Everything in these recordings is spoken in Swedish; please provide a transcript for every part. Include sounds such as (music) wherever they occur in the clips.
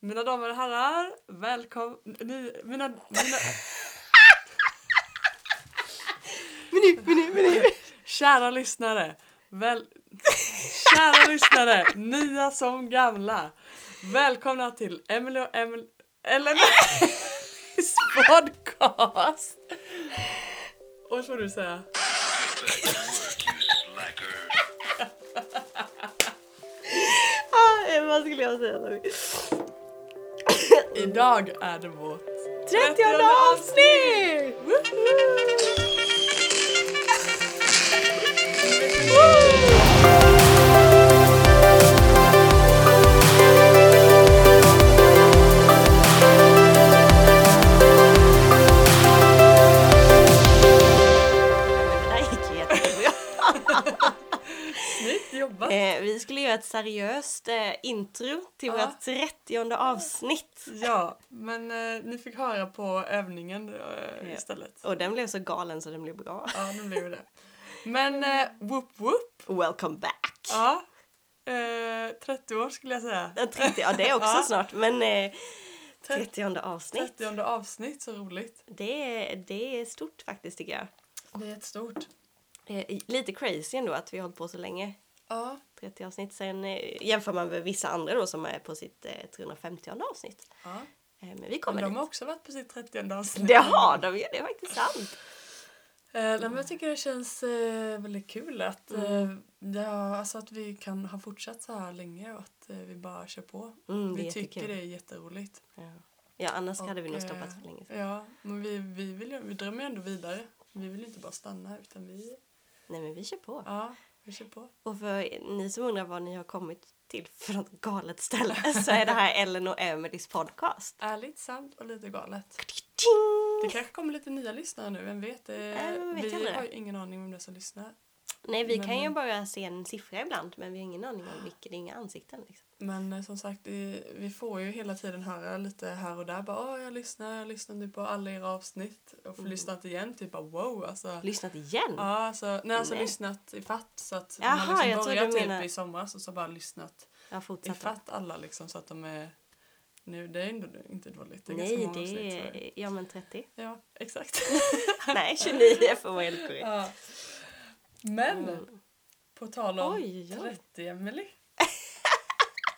Mina damer och herrar, välkomna... Ni, mina, mina Men nu, men nu, men nu. kära lyssnare. Väl, kära lyssnare, nya som gamla. Välkomna till Emily och Emil... Eller Emelies podcast. Och så får du säga. Ah, eh, vad skulle jag säga då? 30 Idag är det vårt... avsnitt! (laughs) Snyggt jobbat! Eh, vi skulle göra ett seriöst eh, intro till Ja. vårt 30 avsnitt. Ja, men eh, ni fick höra på övningen eh, Ja. istället. Och den blev så galen så den blev bra. Ja, nu blev det. Men eh, whoop whoop. Welcome back! Ja. Eh, 30 år skulle jag säga. Den 30, ja det är också Ja. snart, men eh, Tre- 30 avsnitt. 30 avsnitt, så roligt. Det, är- det är stort faktiskt tycker jag. Det är jättestort. Eh, lite crazy ändå att vi har hållit på så länge. Ja, 30 avsnitt. Sen eh, jämför man med vissa andra då som är på sitt eh, 350 avsnitt. ja. Eh, men vi Men kommer de dit. har också varit på sitt 30 avsnitt. Det har de ju, det är faktiskt sant. Eh, nej, men jag tycker det känns eh, väldigt kul att, eh, det har, alltså att vi kan ha fortsatt så här länge och att eh, vi bara kör på. Mm, det är vi tycker jättekul. det är jätteroligt. Ja, ja annars hade vi nog Och, stoppat eh, för länge sedan. Ja, men vi, vi, vill, ju- vi drömmer ju ändå vidare. Vi vill ju inte bara stanna utan vi, Nej men vi kör på. ja, vi kör på. Och för ni som undrar vad ni har kommit till (laughs) för något galet ställe (laughs) så är det här Ellen och Emelies podcast. Ärligt, sant och lite galet. Det Ting! kanske kommer lite nya lyssnare nu, vem vet? Det, Nej, men Eh, vet jag vi aldrig. har ju ingen aning om det som lyssnar. Nej vi kan ju Men- bara se en siffra ibland men vi har ingen aning om vilka, det är inga ansikten liksom. Men eh, som sagt, det, vi får ju hela tiden höra lite här och där. Bara, Åh, jag lyssnar, jag lyssnar nu på alla era avsnitt. Och får Mm. lyssnat igen, typ bara wow. Alltså, Lyssnat igen? ja, alltså, nej, alltså Nej. lyssnat i fatt. Så att Jaha, man liksom jag trodde börjar du typ menar- i somras och så bara lyssnat Jag har i fortsatt. fatt alla liksom. Så att de är... Nu, det är ändå inte dåligt. Det är ganska Nej många det avsnitt. så det- är, ja (laughs) men 30. Ja, (laughs) exakt. Nej 29 för att vara helt korrekt. ja. Men på tal om Oj, oj, oj. 30, Emily. (laughs)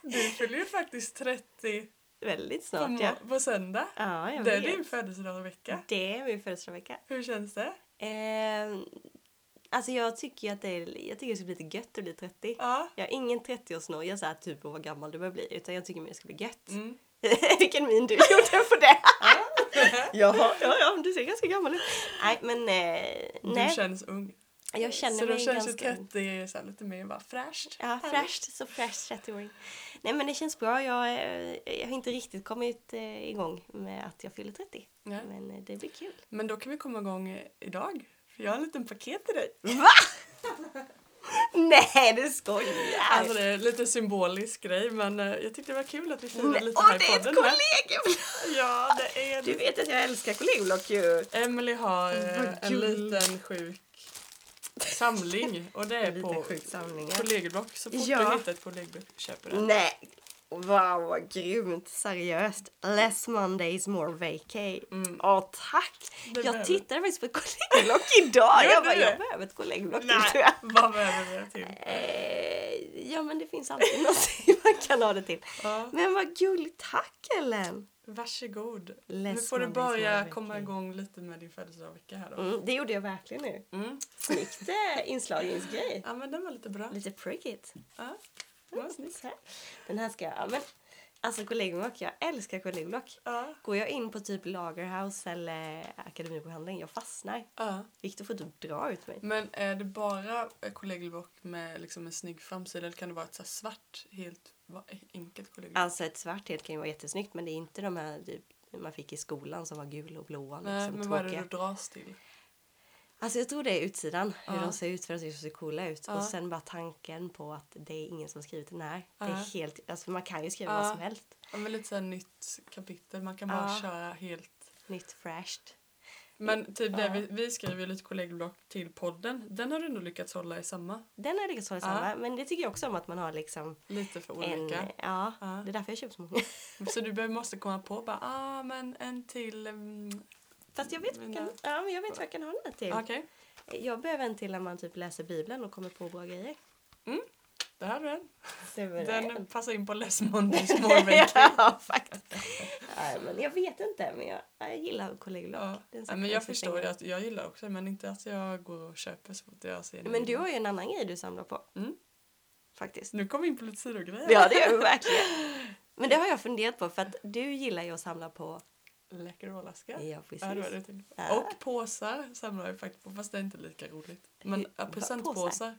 Du fyller ju faktiskt 30 Väldigt på, snart ja. må- på söndag. Ja, jag Det är vet. din födelsedagsvecka. Det är min födelsedagsvecka. Hur känns det? Eh, alltså jag tycker ju att det är, jag tycker det ska bli lite gött att bli 30. Ja. Jag har ingen 30-årsnoja såhär typ på vad gammal du bör bli utan jag tycker mer det ska bli gött. Mm. (laughs) (laughs) Vilken min du gjorde på det! (laughs) Jaha, ja, ja, men du ser ganska gammal ut. Nej men eh, Du nej, känns ung. jag känner så då mig känns ju ganska... 30 så här, lite mer bara fräscht. Ja, fräscht. Så fräscht 30-åring. Nej men det känns bra. Jag, eh, jag har inte riktigt kommit eh, igång med att jag fyller 30. Ja. Men eh, det blir kul. Men då kan vi komma igång eh, idag. För jag har en liten paket till dig. (laughs) Nej, du skojar! Alltså det är lite symbolisk grej men eh, jag tyckte det var kul att vi firade Nej, lite åh, här i det är ett podden. med. kollegieblock! Ja, det är Du det. vet att jag älskar kollegieblock ju! Emily har eh, Vad en gulligt. liten sjuk samling och det En är liten på sjuk samling, ja. kollegieblock. Så fort Ja. Mm. du hittar ett kollegieblock köper du det. Nej! Wow, vad grymt! Seriöst. Less Mondays, more vacay. Mm. Åh, tack! Det jag behöver- tittade faktiskt på ett kollegieblock idag. Gjorde jag bara, du det? jag behöver ett kollegieblock till, (laughs) tror Nej, jag. vad behöver vi till? Eh, ja, men det finns alltid (laughs) någonting man kan ha det till. Ja. Men vad gulligt, tack Ellen! Varsågod. Less nu får du Mondays, börja more komma vacay. igång lite med din födelsedagsvecka här då. Mm, det gjorde jag verkligen nu. Mm. Snyggt eh, inslagningsgrej. Ja men den var lite bra. Lite prickigt. Ja. Ja, Mm, så här. Den här ska jag... Ja, men, alltså kollegieblock, jag älskar kollegieblock. ja. Går jag in på typ Lagerhouse eller Akademibokhandeln, jag fastnar. ja. Viktor får typ dra ut mig. Men är det bara eh, kollegieblock med liksom en snygg framsida eller kan det vara ett så här svart, helt va- enkelt kollegieblock? Alltså ett svart helt kan ju vara jättesnyggt men det är inte de här typ, man fick i skolan som var gula och blåa. Nej, Liksom, men vad är tråkiga. det du dras till? Alltså jag tror det är utsidan, hur Ja. de ser ut för att de ser så coola ut. Ja. Och sen bara tanken på att det är ingen som har skrivit den här. Det Ja. är helt, alltså man kan ju skriva Ja. vad som helst. Ja, men lite så här nytt kapitel. Man kan bara Ja. köra helt... Nytt, fräscht. Men typ det Ja. vi, vi skriver ju lite kollegieblock till podden. Den har du ändå lyckats hålla i samma. Den har jag lyckats hålla Ja. samma, men det tycker jag också om att man har liksom Lite för en... eh, olika. Ja, Ja. det är därför jag köper så många. (laughs) Så du behöver- måste komma på bara, ah men en till. Mm, Fast jag vet, vad jag kan, ja, men jag vet vad jag kan ha den till. Okej, Jag behöver en till när man typ läser Bibeln och kommer på bra grejer. där har du den. Suverän. Den passar in på Les Mondis (laughs) morgonvinkel. (laughs) ja, faktiskt. Nej, men jag vet inte, men jag, jag gillar kollegor. Ja. Den Ja, saken men jag jag ska förstår slänga. ju att jag gillar också men inte att jag går och köper så fort jag ser en Men du video. har ju en annan grej du samlar på. Mm. Faktiskt. Nu kommer vi in på lite sidogrejer. Ja, det gör du verkligen. (laughs) Men det har jag funderat på för att du gillar ju att samla på... Läkerolaska. Ja, Ja, det var precis. det till. Ja. Och påsar samlar jag faktiskt på fast det är inte lika roligt. Men Hur- ja, va- presentpåsar.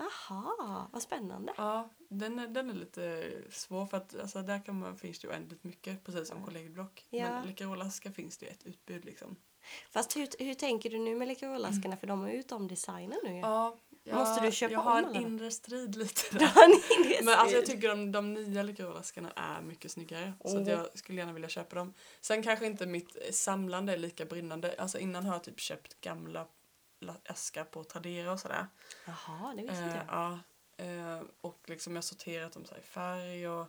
Jaha, vad spännande. Ja, den är, den är lite svår för att alltså, där kan man, finns det ju oändligt mycket precis som kollegieblock. Ja. Men Läkerolaska finns det ju ett utbud liksom. Fast hur, hur tänker du nu med läkerollaskarna? För de är ju om designen nu ju. (laughs) Ja, jag, Måste du köpa jag har om en alla dem? inre strid (laughs) lite Då där. har ni det Men alltså jag styrt. tycker de, de nya Läkerolaskarna är mycket snyggare. Så att Mm. jag skulle gärna vilja köpa dem. Sen kanske inte mitt eh, samlande är lika brinnande. Alltså innan har jag typ köpt gamla la- askar på Tradera och sådär. Jaha, det visste inte Eh, jag. ja, eh, och liksom jag har sorterat dem så här i färg och,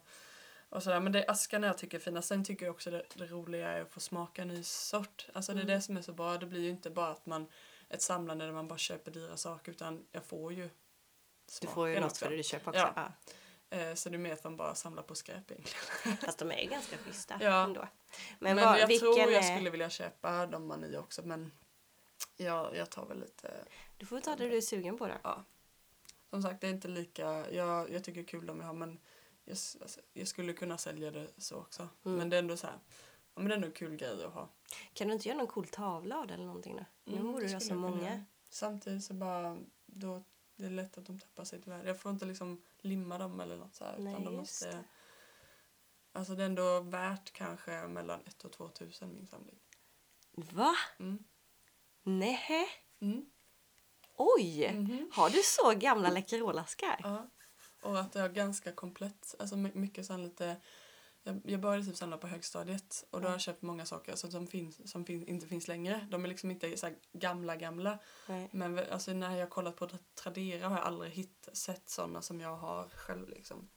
och sådär. Men det är askarna jag tycker är fina. Sen tycker jag också det, det roliga är att få smaka en ny sort. Alltså det är Mm. det som är så bra. Det blir ju inte bara att man ett samlande där man bara köper dyra saker utan jag får ju Du smaken får ju något också. för det du köper också. Ja. Ja. Eh, så det är mer att man bara samlar på skräp egentligen. Fast de är ju ganska schyssta Ja. ändå. Men, Men, vad, jag vilken tror jag är- skulle vilja köpa de man nya också men jag, jag tar väl lite Du får ta det du är sugen på då. Som sagt, det är inte lika... Jag, jag tycker det är kul om jag har, men jag, s- alltså, jag skulle kunna sälja det så också. Mm. Men det är ändå så här... Ja, men det är ändå en kul grej att ha. Kan du inte göra någon cool tavla av det eller någonting då? Mm, nu borde det du ha så skulle jag kunna många. göra. Samtidigt så bara... Då, det är lätt att de tappar sitt värde. Jag får inte liksom limma dem eller något så här. Nej, utan de just måste, det. Alltså det är ändå värt kanske mellan 1 och 2 tusen min samling. Va? Mm. Nej. Mm. Oj! Mhm. Har du så gamla Läkerol-askar? Ja. Och att det är ganska komplett. Alltså my- mycket sån lite... Jag, jag började typ samla på högstadiet och då har jag köpt många saker alltså, som, finns, som fin, inte finns längre. De är liksom inte så här gamla gamla. Nej. Men v- alltså, när jag har kollat på Tradera har jag aldrig hitt, sett sådana som jag har själv. Liksom.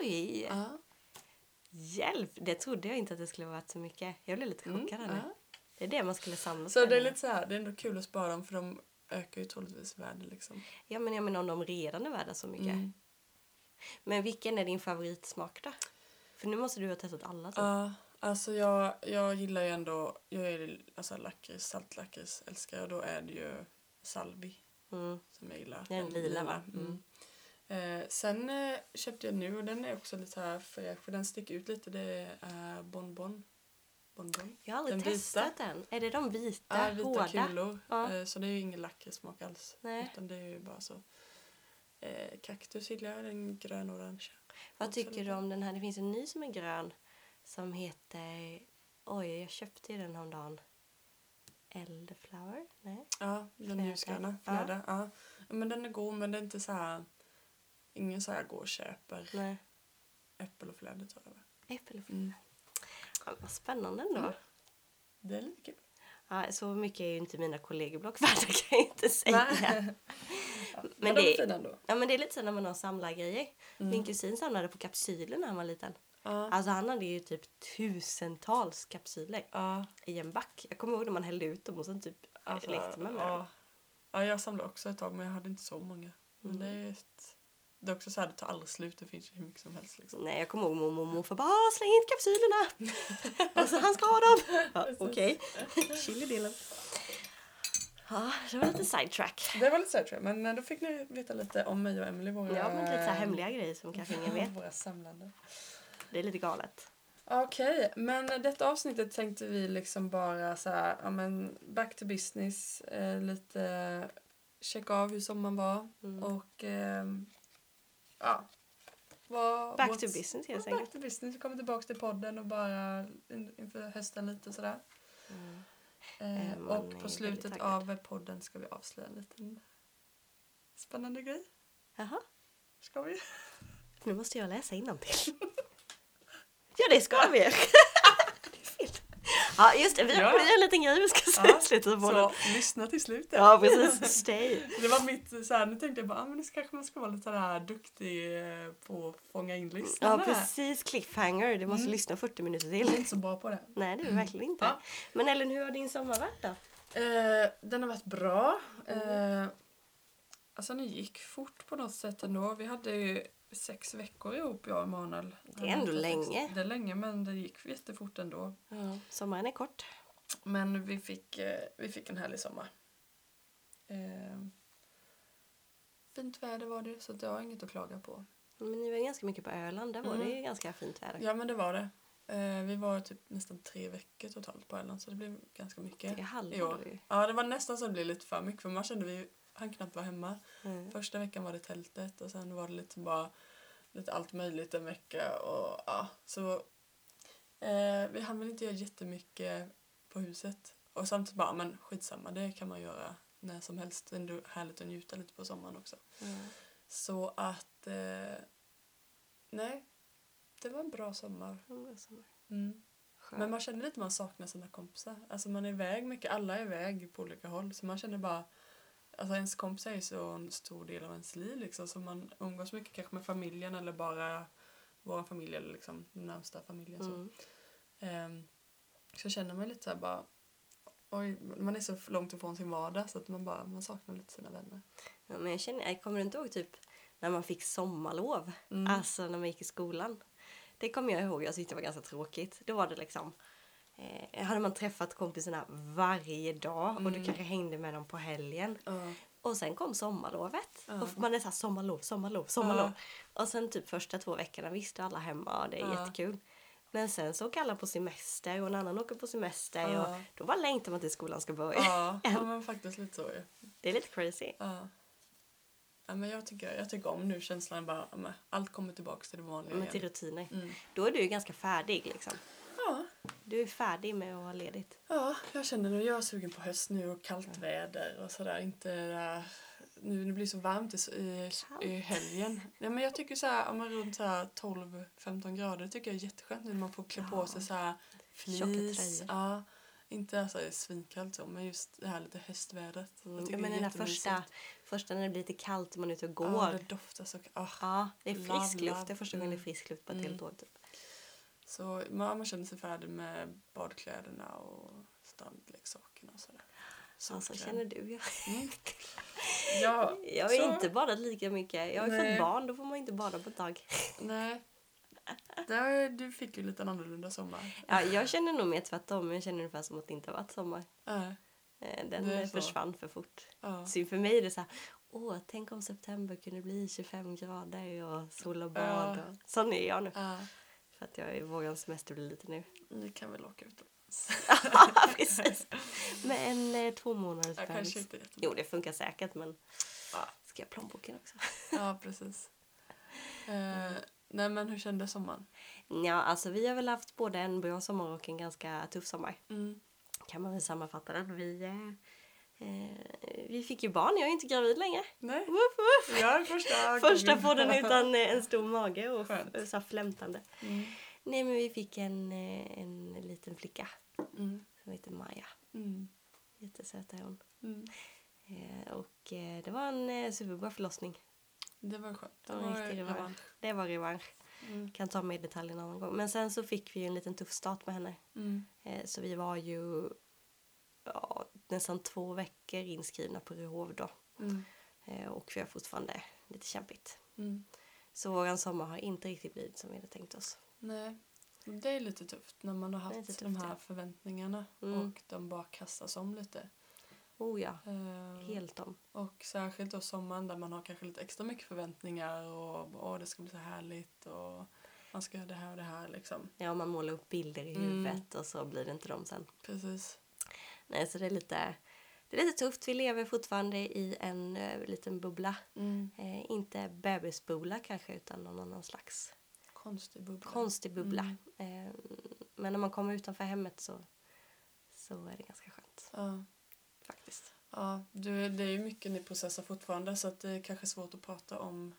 Oj! Ja. Hjälp! Det trodde jag inte att det skulle vara så mycket. Jag blev lite Mm, chockad här nu. ja. Det är det man skulle samla Så på det är nu. lite så här, det är ändå kul att spara dem för de ökar ju troligtvis värde. Liksom. Ja men jag menar om de redan är värda så mycket. Mm. Men vilken är din favoritsmak då? För nu måste du ha testat alla typ. Ja, alltså jag, jag gillar ju ändå, jag är ju, alltså lakrits, saltlakrits älskar jag och då är det ju salvi. Mm. som jag gillar. Den lila, va? Mm. Eh, sen eh, köpte jag nu och den är också lite så här fräsch för den sticker ut lite. Det är Bonbon. Bonbon. Jag har aldrig Den vita. testat den. Är det de vita, Ja, vita hårda? kulor. Ja. Eh, så det är ju ingen lakritssmak alls. Nej. Utan det är ju bara så. Eh, kaktus gillar jag, den grön orange. Vad Också tycker du lite. om den här? Det finns en ny som är grön som heter... Oj, jag köpte ju den häromdagen. Elderflower? Nej. Ja, den Fjäder. ljusgröna. Ja. Fjäder. Ja. Ja. Men den är god men det är inte så här. Ingen så här går och köper Nej. äppel och fläder tror jag. va? Äppelflower. Mm. Ja, vad spännande ändå. Mm. Det är lite kul. Ja, så mycket är ju inte mina kollegieblock värda (laughs) kan jag inte säga. Nej. Men, Men de är det- fina ändå. Ja, men det är lite så när man har samlargrejer. Min kusin samlade på kapsyler när han var liten. Mm. Ja. Alltså han hade ju typ tusentals kapsyler Ja. i en back. Jag kommer ihåg när man hällde ut dem och sen typ Alltså, lekte man med dem. ja. ja, jag samlade också ett tag men jag hade inte så många. Men Mm. det, är ett, det är också så här, det tar aldrig slut. Det finns ju hur mycket som helst. Liksom. Nej, jag kommer ihåg mormor och morfar bara "Ah, släng (laughs) hit kapsylerna. alltså han ska ha dem. Ja, Okej, chill i delen. Ja, det var lite sidetrack. Det var lite så här, tror jag. Men eh, då fick ni veta lite om mig och Emily Våra, Ja, men Eh. lite så här hemliga grejer som kanske ingen vet. Våra samlande. Det är lite galet. Okej, men detta avsnittet tänkte vi liksom bara så här, ja men back to business. Eh, lite checka av hur sommaren var Mm. och ehm, ja. Vad- Back what's- to business helt Ja, enkelt. back to business. Vi kommer tillbaka till podden och bara in, inför hösten lite sådär. Mm. Eh, Eh, man är och på väldigt slutet taggad. av podden ska vi avslöja en liten spännande grej. Jaha, Ska vi? nu (laughs) måste jag läsa innantill. ja, det ska vi. det är fel. Ja, just det. Vi har Ja. vi har en liten grej vi ska säga Ja, i slutet av podden. Så lyssna till slutet. Ja, precis. Stay. (laughs) Det var mitt, så här, nu tänkte jag bara, ah, men nu kanske man ska vara lite där duktig eh, på att fånga in Ja, lyssnarna. precis. Cliffhanger. Du måste Mm. lyssna 40 minuter Jag är till. inte så bra på det. Nej, det är du verkligen inte. Ja. Men Ellen, hur har din sommar varit då? Eh, den har varit bra. Mm. Eh, alltså den gick fort på något sätt ändå. Vi hade ju sex veckor ihop jag och Emanuel. Det är ändå länge. Det är länge men det gick jättefort ändå. Sommaren är kort. Men vi fick, eh, vi fick en härlig sommar. Eh, fint väder var det så att jag har inget att klaga på. Men ni var ganska mycket på Öland. Där var Mm. det ju ganska fint väder. Ja men det var det. Eh, vi var typ nästan tre veckor totalt på Öland så det blev ganska mycket. Det är halva i år. då ju. Ja det var nästan så det blev lite för mycket för man kände vi han knappt var hemma. Mm. Första veckan var det tältet och sen var det lite bara lite allt möjligt en vecka och ja så eh, vi hann väl inte göra jättemycket på huset och samtidigt bara men skitsamma det kan man göra när som helst. Det är ändå härligt att njuta lite på sommaren också. Mm. Så att eh, nej det var en bra sommar. Det var sommar. Mm. Skönt. Men man känner lite att man saknar sina kompisar. Alltså man är iväg mycket, alla är iväg på olika håll. Så man känner bara, alltså ens kompisar är ju så en stor del av ens liv liksom. Så man umgås mycket kanske med familjen eller bara vår familj eller liksom den närmsta familjen. Så. Mm. Ehm, så känner man lite så här bara, oj, man är så långt ifrån sin vardag så att man bara, man saknar lite sina (laughs) vänner. Ja, men jag, känner, jag kommer inte ihåg typ när man fick sommarlov. Mm. Alltså när man gick i skolan. Det kommer jag ihåg. Jag tyckte det var ganska tråkigt. Då var det liksom. Eh, hade man träffat kompisarna varje dag och du Mm. kanske hängde med dem på helgen. Ja. Och sen kom sommarlovet. Ja. Och man är såhär sommarlov, sommarlov, sommarlov. Och sen typ första två veckorna visste alla hemma och det är Ja. jättekul. Men sen så åker alla på semester och en annan åker på semester. Ja. Och då bara längtar man till skolan ska börja. Ja, ja men faktiskt lite så ju. (laughs) Det är lite crazy. Ja. Ja, men jag, tycker, jag tycker om nu känslan bara, ja, men allt kommer tillbaka till det vanliga Men till igen. rutiner. Mm. Då är du ju ganska färdig liksom. Ja, Du är färdig med att ha ledigt. ja, jag känner nu, jag är sugen på höst nu och kallt väder och sådär. Inte det där- nu det blir så varmt i, i, Kallt. i helgen. Nej, men jag tycker så här, om man runt så här 12-15 grader, det tycker jag är jätteskönt nu när man får klä på Ja. sig så här Tjocka fleece. tröjor. Ja, inte alltså svinkallt så, men just det här lite höstvädret. Mm. Jag Ja, tycker men det är den där jättemysigt. första, första när det blir lite kallt och man är ute och går. Ja, Ja, det doftar så... ah. det är frisk Love, love. luft. Det är första gången det är Mm. frisk luft på ett Mm. helt år. Typ. Så man, man känner sig färdig med badkläderna och strandleksakerna och sådär. Alltså, Solkräm. känner du? Jag, (laughs) Mm. Ja, jag har så- inte badat lika mycket. Jag har ju Nej. fått barn, då får man inte bada på ett tag. Nej. Där, du fick ju lite en annorlunda sommar. Ja, jag känner nog mer tvärtom. men Jag känner ungefär som att det inte har varit sommar. Äh, Eh, Det Den är eh, så. försvann för fort. ja. Så för mig är det så här, åh, tänk om september kunde bli 25 grader och sol och bad. Ja. Och... Sån är jag nu. Äh, För att jag är vågans semester blir (laughs) lite nu. ni kan väl åka ut. Ja, precis. Med en eh, två månaders Jag kanske bebis. inte är jättebra. Jo, det funkar säkert, men Ja. ska jag plånboken också? Ja, precis. Eh, nej, men hur kändes sommaren? Ja, alltså vi har väl haft både en bra sommar och en ganska tuff sommar. Mm. Kan man väl sammanfatta den. Vi, eh, eh, vi fick ju barn, jag är inte gravid längre. Nej, Woof, woof. jag är första (laughs) Första gången. podden utan eh, en stor mage och Skönt. f- så här flämtande. Mm. Nej, men vi fick en, eh, en liten flicka Mm. som heter Maja. Mm. Jättesöt är hon. Mm. Eh, och eh, det var en eh, superbra förlossning. Det var skönt. Det var en riktig revansch. Det var revansch. Mm. kan ta med detaljer en annan gång. Men sen så fick vi ju en liten tuff start med henne. Mm. Eh, Så vi var ju ja, nästan två veckor inskrivna på Ryhov då. Mm. Eh, Och vi har fortfarande lite kämpigt. Mm. Så våran sommar har inte riktigt blivit som vi hade tänkt oss. Nej, det är lite tufft när man har Det är haft lite de tufft, här ja. förväntningarna Mm. och de bara kastas om lite. Oh ja, Ehm, helt om. Och särskilt då sommaren där man har kanske lite extra mycket förväntningar och åh det ska bli så härligt och man ska göra det här och det här liksom. Ja, man målar upp bilder i Mm. huvudet och så blir det inte dem sen. Precis. Nej, så det är lite, det är lite tufft. Vi lever fortfarande i en eh, liten bubbla. Mm. Eh, inte bebisbubbla kanske, utan någon annan slags Konstig bubbla. konstig bubbla. Mm. Eh, men när man kommer utanför hemmet så, så är det ganska skönt ja. faktiskt. Ja, du, det är ju mycket ni processar fortfarande så att det är kanske svårt att prata om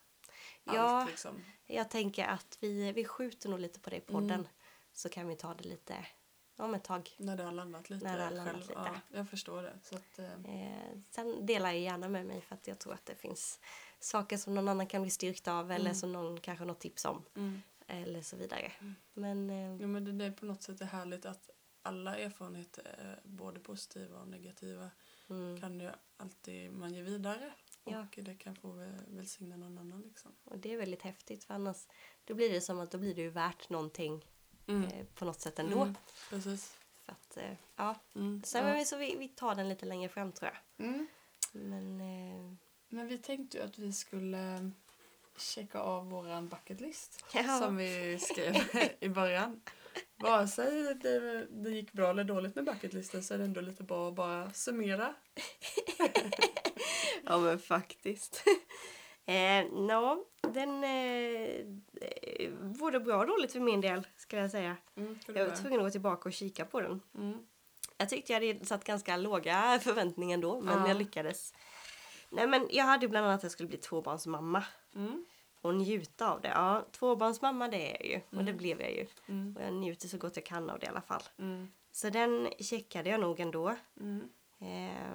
Ja. allt liksom. Jag tänker att vi, vi skjuter nog lite på det i podden Mm. så kan vi ta det lite om ett tag. När det har landat lite När det har landat själv. lite. Ja, jag förstår det. Så att, eh, Eh, sen delar jag gärna med mig för att jag tror att det finns saker som någon annan kan bli styrkt av eller Mm. som någon kanske har något tips om mm. eller så vidare. Men eh, ja, men det, det är på något sätt är härligt att alla erfarenheter, eh, både positiva och negativa, mm, kan ju alltid man ge vidare. Ja. Och det kan få väl- välsigna någon annan liksom. och det är väldigt häftigt för annars då blir det som att då blir det ju värt någonting eh, på något sätt ändå. Mm, Precis. För att, eh, ja. Mm. Sen, ja. men, så vi, vi tar den lite längre fram tror jag. Mm. Men eh, Men vi tänkte ju att vi skulle eh, checka av våran bucket list Ja. som vi skrev (laughs) i början. Vare sig det, det gick bra eller dåligt med bucketlisten så är det ändå lite bra att bara summera. Ja men faktiskt. (laughs) eh, Nå, den... Eh, eh, både bra och dåligt för min del ska jag säga. Mm, för Jag var det. tvungen att gå tillbaka och kika på den. Mm. Jag tyckte jag hade satt ganska låga (laughs) förväntningar då men Ja. jag lyckades. Nej men jag hade ju bland annat att jag skulle bli tvåbarnsmamma. Mm. Och njuta av det. Ja, tvåbarnsmamma det är jag ju. Och det blev jag ju. Mm. Och jag njuter så gott jag kan av det i alla fall. Mm. Så den checkade jag nog ändå. Mm. Eh,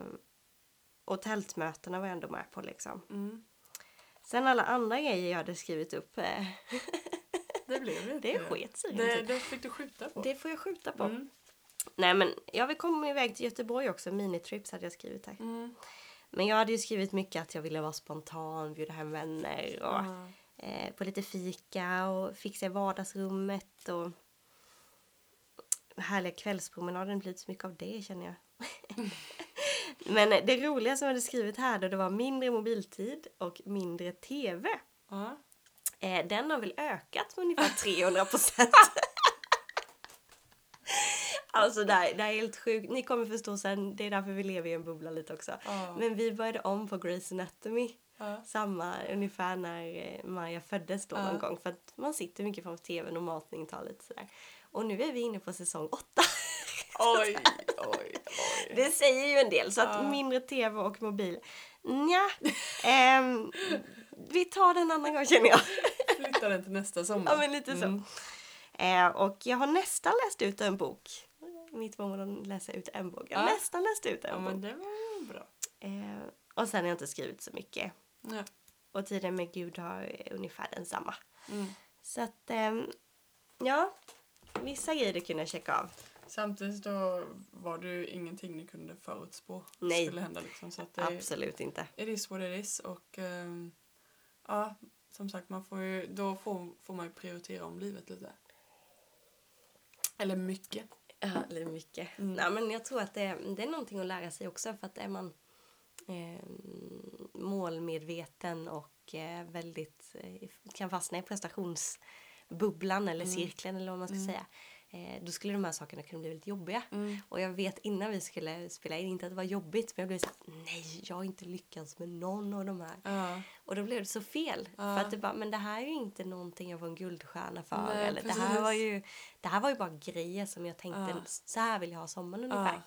och tältmötena var jag ändå med på liksom. Mm. Sen alla andra grejer jag hade skrivit upp, eh, Det blev ju inte det sket sig. det, Det, det fick du skjuta på. det får jag skjuta på. Mm. Nej men, ja vi kom iväg till Göteborg också, minitrips hade jag skrivit här. Mm. Men jag hade ju skrivit mycket att jag ville vara spontan, bjuda hem vänner och Ja. eh, på lite fika och fixa i vardagsrummet och härliga kvällspromenaden. Det blir inte så mycket av det känner jag. (laughs) men det roliga som jag hade skrivit här då, det var mindre mobiltid och mindre TV. Ja. Eh, den har väl ökat med ungefär (laughs) 300 procent. alltså det här, det här är helt sjukt. Ni kommer förstå sen, det är därför vi lever i en bubbla lite också. Ja. Men vi började om på Grey's Anatomy. Ja. Samma ungefär när eh, Maja föddes då Ja. någon gång. För att man sitter mycket framför tvn och matning tar lite sådär. Och nu är vi inne på säsong åtta. (laughs) Oj, oj, oj. Det säger ju en del. Så att Ja. mindre tv och mobil. Nja. ehm, vi tar den en annan gång känner jag. Flytta den till nästa sommar. Ja, men lite så. Mm. Eh, och jag har nästan läst ut en bok. Mitt mål är att läsa ut en bok. Jag har Ja. nästan läst ut Ja, en men bok. det var ju bra. Eh, och sen har jag inte skrivit så mycket. Ja. Och tiden med Gud har eh, ungefär densamma. Mm. Så att, ehm, ja. Vissa grejer kunde jag checka av. Samtidigt då var det ju ingenting ni kunde förutspå Nej. skulle hända. Liksom, så att det, Absolut inte. it is what it is. Och ehm, ja, som sagt, man får ju, då får, får man ju prioritera om livet lite. Eller mycket. Ja, eller mycket. Mm. Nej, men jag tror att det, det är någonting att lära sig också för att är man eh, målmedveten och eh, väldigt eh, kan fastna i prestationsbubblan eller cirkeln eller vad man ska säga. Eh, då skulle de här sakerna kunna bli väldigt jobbiga. Mm. Och jag vet innan vi skulle spela in, inte att det var jobbigt, men jag blev såhär, nej, jag har inte lyckats med någon av de här. Ja, Och då blev det så fel. Ja. För att det bara, men det här är ju inte någonting jag var en guldstjärna för. Nej, eller det, här precis. var ju, det här var ju bara grejer som jag tänkte, Ja. så här vill jag ha sommaren Ja. ungefär.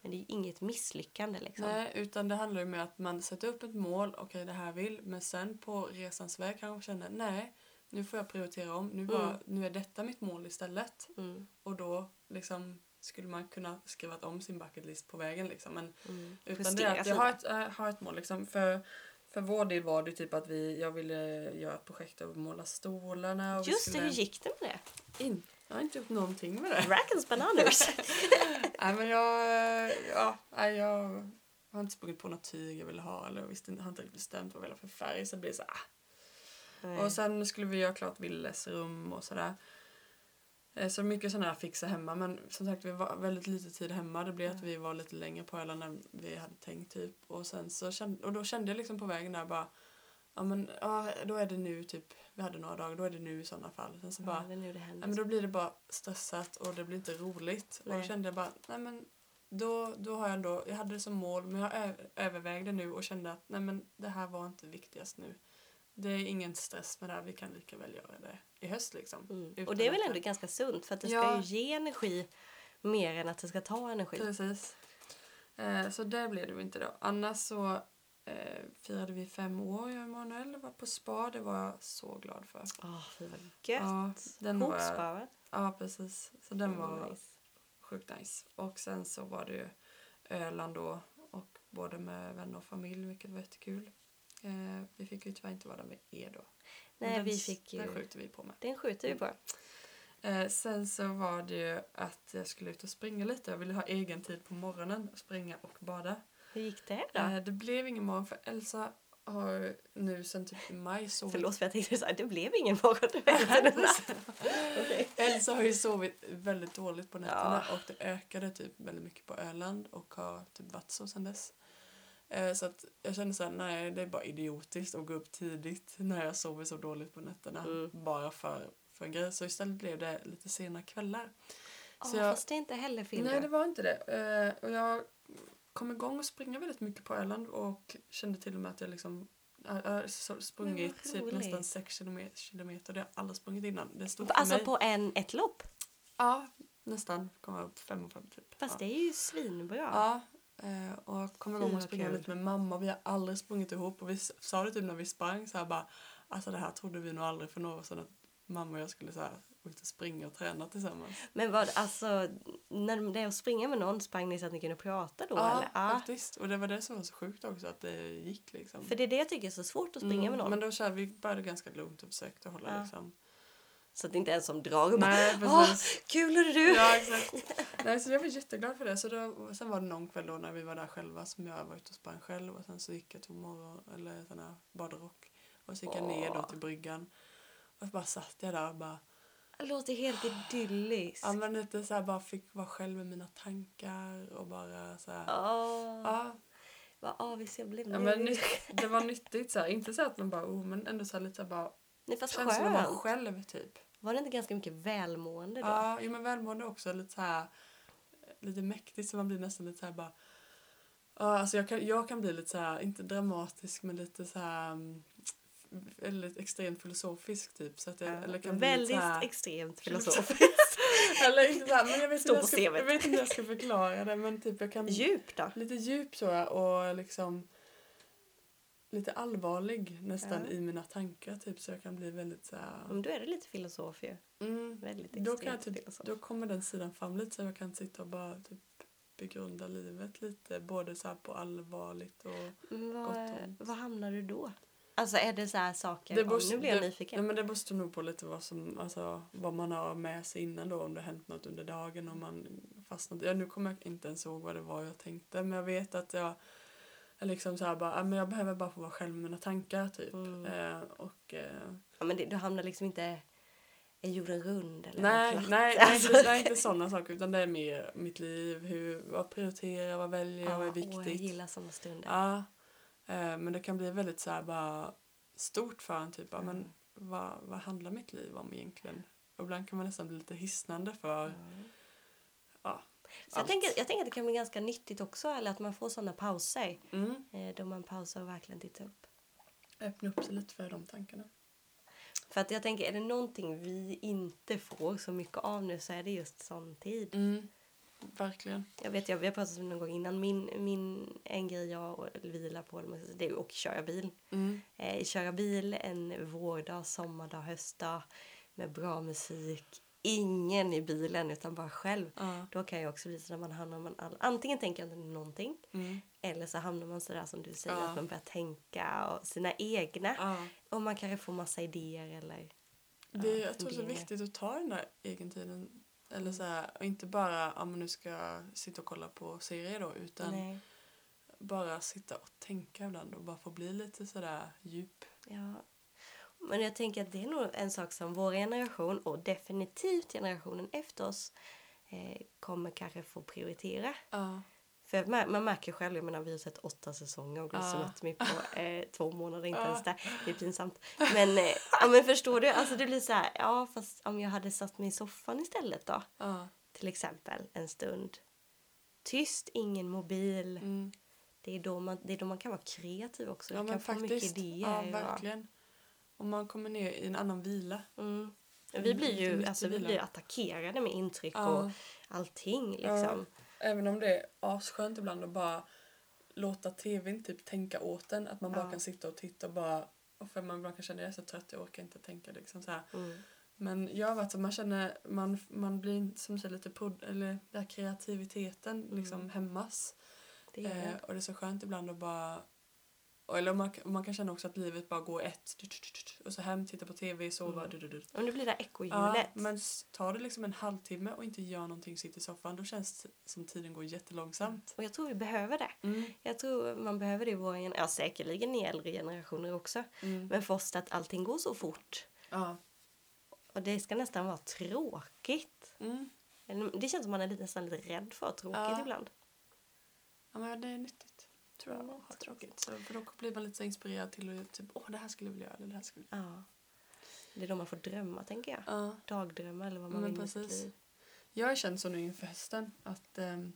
Men det är ju inget misslyckande liksom. nej, utan det handlar ju om att man sätter upp ett mål, okej det här vill, men sen på resans väg kanske man känner nej, nu får jag prioritera om, nu, var, nu är detta mitt mål istället. Mm, Och då liksom skulle man kunna skriva om sin bucket list på vägen liksom. Men mm. Utan det Justera är att jag sig har där. ett, äh, har ett mål. Liksom. För, för vår del var det ju typ att vi, jag ville göra ett projekt av att måla stolarna. Och vi Just det, skulle hur gick det med det? in. Jag har inte gjort någonting med det. (laughs) Rackens Bananas! nej men jag, äh, ja, nej, jag har inte sprungit på något tyg jag ville ha. Eller jag visste, inte- har inte riktigt bestämt vad jag ville ha för färg. Så det blir så, ah, och sen skulle vi göra klart Willes rum och sådär. Eh, Så mycket sådana här fixa hemma men som sagt vi var väldigt lite tid hemma. Det blev att vi var lite längre på ölen än vi hade tänkt typ. Och, sen så kände, och då kände jag liksom på vägen där bara ja men ja, då är det nu typ. Vi hade några dagar, då är det nu i sådana fall. Sen så bara, bara, det är nu det händer. nej men då blir det bara stressat och det blir inte roligt. Och Nej. då kände jag bara, nej men då, då har jag ändå, jag hade det som mål men jag ö- övervägde nu och kände att nej men det här var inte viktigast nu. Det är ingen stress med det här, vi kan lika väl göra det i höst liksom. mm. Utan Och det är väl att- ändå ganska sunt för att det ska Ja. Typ. ju ge energi mer än att det ska ta energi. Precis. Eh, så det blev det ju inte då. Annars så eh, firade vi fem år, jag och Emanuel var på spa, det var jag så glad för. Åh, fy vad gött! Ja, den var, Hopsparat. Mm, ja precis. Så den var Nice. sjukt nice. Och sen så var det ju Öland då och både med vänner och familj vilket var jättekul. Eh, vi fick ju tyvärr inte vara där med er då. Men Nej, den, vi fick Den ju... skjuter vi på med. Den skjuter vi på. Eh, sen så var det ju att jag skulle ut och springa lite. Jag ville ha egen tid på morgonen, springa och bada. Hur gick det då? Eh, det blev ingen morgon för Elsa har nu sen typ i maj sovit Förlåt för jag tänkte så här, det blev ingen (laughs) morgon. Det blev en natt. Okej. Elsa har ju sovit väldigt dåligt på nätterna Ja. och det ökade typ väldigt mycket på Öland och har typ varit så sedan dess. Eh, Så att jag känner såhär, nej det är bara idiotiskt att gå upp tidigt när jag sover så dåligt på nätterna. Mm. Bara för, för en grej. Så istället blev det lite sena kvällar. Åh, Så jag- Fast det är inte heller film. Nej det var inte det. Eh, Och jag kom igång och springa väldigt mycket på Öland och kände till och med att jag liksom jag har så- sprungit typ roligt. nästan 6 kilometer, kilometer. Det har jag aldrig sprungit innan. Det stod för Alltså mig. på en, ett lopp. Ja, nästan. Komma upp fem och fem typ. Fast ja. det är ju svinbra. Ja, eh, och jag kommer Fy, ihåg vad att springa kul. lite med mamma. Vi har aldrig sprungit ihop och vi s- sa det typ när vi sprang så här bara alltså det här trodde vi nog aldrig för några år sedan att mamma och jag skulle så här ut och springa och träna tillsammans. Men vad, alltså, när det är att springa med någon sprang ni så att ni kunde prata då? ja, eller? Ja. faktiskt. Och det var det som var så sjukt också att det gick liksom. För det är det jag tycker är så svårt att springa Mm, med någon. Men då så här, vi började ganska lugnt och försökte hålla Ja. liksom. Så att det inte är en som drar och bara Nej, Åh, precis. kul är du! Ja, exakt. Nej, så jag var jätteglad för det. Så då, sen var det någon kväll då när vi var där själva som jag var ute och sprang själv och sen så gick jag till morgon, eller sån här badrock och så gick jag ner då Åh. till bryggan och bara satt jag där och bara, Det låter helt idylliskt. ja men lite så här bara fick vara själv med mina tankar och bara så här. Åh, Ja, Vad avis jag blev ja nu. men nytt, det var nyttigt så här. Inte så att man bara, oh, men ändå så här lite så här bara Nej, fast känslan av skönt. man själv typ. Var det inte ganska mycket välmående då? Ja, jo, men välmående också. Lite så här, lite mäktigt så man blir nästan lite så här bara... Ja, alltså jag kan, jag kan bli lite så här, inte dramatisk men lite så här mm, f- eller lite extremt filosofisk typ. Så att jag, Ja, eller kan bli lite Väldigt så här, extremt Filosof. filosofiskt. (laughs) eller inte så här, men jag vet, inte Står hur på jag, ska, CV:t. jag vet inte hur jag ska förklara det men typ jag kan... Djup då? Lite djup så jag, och liksom lite allvarlig nästan Ja. Mm. i mina tankar typ så jag kan bli väldigt så här... Men då är det lite filosof ju. Mm, Väldigt Då, kan jag extremt typ, filosof. då kommer den sidan fram lite så jag kan sitta och bara typ begrunda livet lite. Både så här på allvarligt och... Men gott och Vad, ont. vad hamnar du då? Alltså är det så här saker? Det Oj, beror- nu blir jag det- nyfiken. Nej, men det beror nog på lite vad, som, alltså, vad man har med sig innan då. Om det har hänt något under dagen. Om man fastnat. Ja, nu kommer jag inte ens ihåg vad det var jag tänkte. Men jag vet att jag jag liksom så här bara, "Ah, men jag behöver bara få vara själv med mina tankar typ. Mm. Eh, och, eh, Ja, men det, du hamnar liksom inte i jorden rund eller nej, (laughs) platt. nej, nej, Alltså, precis, nej, inte sådana saker. Utan det är mer mitt liv. Hur, vad prioriterar jag? Vad väljer jag? Vad är ja, åh, jag viktigt? gillar sådana stunder. Ja. Eh, men det kan bli väldigt så här bara stort för en typ. ja, Men vad, vad handlar mitt liv om egentligen? Och ibland kan man nästan bli lite hisnande för ja. Så jag, allt. tänker, jag tänker att det kan bli ganska nyttigt också, eller att man får sådana pauser. Mm. Eh, då man pausar och verkligen tittar upp. Öppna upp sig lite för de tankarna. För att jag tänker, är det någonting vi inte får så mycket av nu så är det just sån tid. Mm. Verkligen. Jag vet, jag, vi har pratat om det någon gång innan, min, min, en grej jag och- vilar på, eller vad man ska säga, det är att köra bil. Mm. Eh, köra bil en vårdag, sommardag, höstdag med bra musik. Ingen i bilen utan bara själv. Ja. Då kan jag också bli så när man hamnar man all, antingen tänker jag inte någonting Mm. eller så hamnar man sådär som du säger Ja. att man börjar tänka och sina egna Ja. och man kanske får massa idéer eller Det, Ja, jag tror det är funderingar. viktigt att ta den där egentiden. Eller så här, och inte bara ah, men nu ska jag sitta och kolla på serier då utan nej. bara sitta och tänka ibland och bara få bli lite sådär djup. Ja. Men jag tänker att det är nog en sak som vår generation och definitivt generationen efter oss eh, kommer kanske få prioritera. Ja. För man, man märker ju själv, jag menar vi har sett åtta säsonger och Ja. Grey's Anatomy på eh, två månader, inte Ja. ens det. Det är pinsamt. Men, eh, ja, men förstår du, alltså det blir så här, ja fast om jag hade satt mig i soffan istället då, ja. till exempel en stund. Tyst, ingen mobil. Mm. Det, är då man, det är då man kan vara kreativ också. Ja, du kan men få faktiskt. mycket idéer. Ja, och- verkligen. Om man kommer ner i en annan vila. Mm. Vi blir Lite ju mitt i alltså, vi bilen. blir attackerade med intryck och Ja. allting. Liksom. Även om det är asskönt ibland att bara låta tvn typ tänka åt en. Att man bara Ja. kan sitta och titta och bara och för man ibland kan känna jag är så trött, jag orkar inte tänka. Liksom så här. Mm. Men jag har varit så man känner, man, man blir inte- som du säger lite podd, eller den här kreativiteten liksom hämmas. Mm. Det är Eh, det. och det är så skönt ibland att bara, och- eller man, kan- man kan känna också att livet bara går ett, tut, tut, tut, tut, och så hem, titta på tv, sova, Mm. du, du, du. Och nu blir det här ekorrhjulet. Ja, men s- tar det liksom en halvtimme och inte gör någonting, sitter i soffan, då känns det som tiden går jättelångsamt. Och jag tror vi behöver det. Mm. Jag tror man behöver det i vår generation, ja säkerligen i äldre generationer också. Mm. Men för oss att allting går så fort. Ja. Och det ska nästan vara tråkigt. Mm. Eller, Det känns som man är lite- nästan lite rädd för tråkigt Ja. ibland. ja, men det är nyttigt. Tror jag. Mm, att ha tråkigt. Så, för då blir man lite så inspirerad till att typ, åh det här skulle jag vilja göra eller det här skulle jag Ja. Det är då man får drömma tänker jag. vilja. Ja. Dagdrömmar eller vad man Men vill med sitt precis. liv. Jag har känt så nu inför hösten att ehm,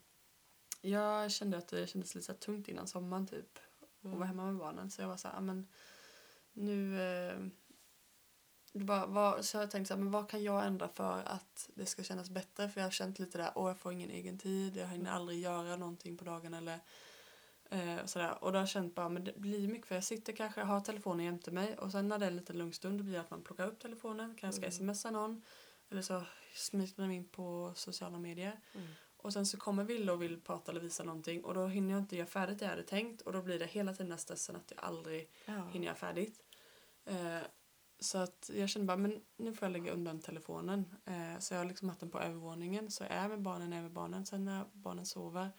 jag kände att det kändes lite så här tungt innan sommaren typ. Mm. Och var hemma med barnen. Så jag var så här, "Ah, men nu... Eh, det bara, vad, så jag tänkte så här, men vad kan jag ändra för att det ska kännas bättre? För jag har känt lite där, åh jag får ingen egen tid, jag hinner aldrig göra någonting på dagen eller eh, sådär. Och då har jag känt bara, men det blir mycket för jag sitter kanske, jag har telefonen jämte mig och sen när det är en liten lugn stund då blir det att man plockar upp telefonen, kanske ska smsa någon eller så smiter man in på sociala medier. Mm. Och sen så kommer Ville och vill prata eller visa någonting och då hinner jag inte göra färdigt det jag hade tänkt och då blir det hela tiden den här stressen att jag aldrig Ja. hinner göra färdigt. Eh, så att jag känner bara, men nu får jag lägga undan telefonen. Eh, så jag har liksom haft den på övervåningen. Så jag är med barnen, är med barnen. Sen när barnen sover,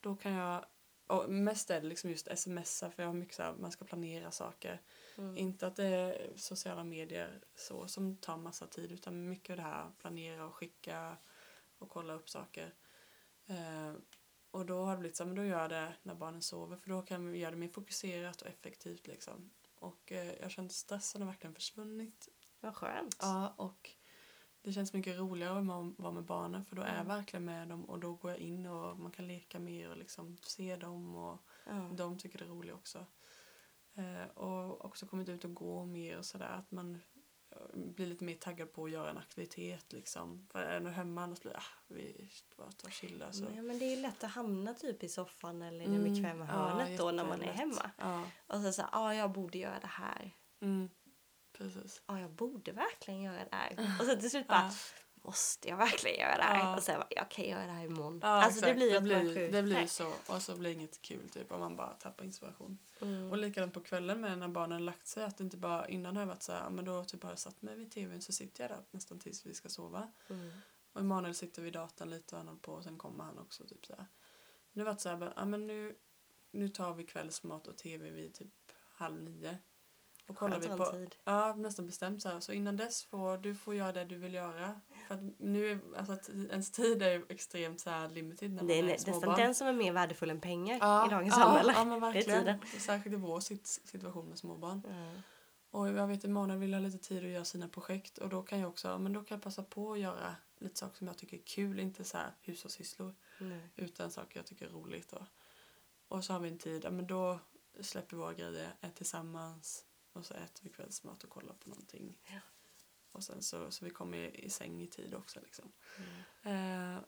då kan jag... Och mest är det liksom just smsa för jag har mycket så här, man ska planera saker. Mm. Inte att det är sociala medier så som tar massa tid utan mycket av det här planera och skicka och kolla upp saker. Eh, och då har det blivit så här, men då gör jag det när barnen sover för då kan vi göra det mer fokuserat och effektivt liksom. Och eh, jag känner att stressen har verkligen försvunnit. Vad skönt. Ja, och det känns mycket roligare om man vara med barnen för då är jag verkligen med dem och då går jag in och man kan leka mer och liksom se dem och Ja. de tycker det är roligt också. Eh, och också kommit ut och gå mer och sådär. Att man eh, blir lite mer taggad på att göra en aktivitet liksom. För är du hemma annars blir det, ah, vi bara tar och chillar. Så. Nej, men det är ju lätt att hamna typ i soffan eller i Mm, det Alltså. Mm. bekväma Ja, hörnet då när man är jättelätt. hemma. Ja, Och så säger ja jag borde göra det här. mm, precis. Ja jag borde verkligen göra det (laughs) här. Och sen till slut bara, Ja. måste jag verkligen göra det här? Ja. Och sen bara, jag kan göra det här imorgon. Ja, alltså det exakt. blir ju det att man blir, skjuter. det blir så. Och så blir det inget kul typ om man bara tappar inspiration. Mm. Och likadant på kvällen med när barnen lagt sig. Att det inte bara innan har jag varit så här, "Ah, men då typ har jag satt mig vid tvn så sitter jag där nästan tills vi ska sova. Mm. Och Emanuel sitter vid datorn lite och han håller på och sen kommer han också. Typ så här. Nu var det så här, bara, ja, men nu, nu tar vi kvällsmat och tv vid typ halv nio. Och kollar Skönt vi att på, ha Alltså, en tid. ja nästan bestämt så här. Så innan dess får du får göra det du vill göra. För att nu, är- alltså att ens tid är ju extremt så här limited när man Det är är nästan småbarn. den som är mer värdefull än pengar ja, i dagens ja, samhälle. Ja men verkligen. tiden. Särskilt i vår sit- situation med småbarn. Ja. Och jag vet Emanuel vill ha lite tid att göra sina projekt och då kan jag också, ja, men då kan jag passa på att göra lite saker som jag tycker är kul, inte så här hushållssysslor Nej. utan saker jag tycker är roligt. Och, och så har vi en tid, ja, men då släpper vi våra grejer, är tillsammans och så äter vi kvällsmat och kollar på någonting. Och sen så, så vi kommer i, i säng i tid också liksom. Mm. Eh,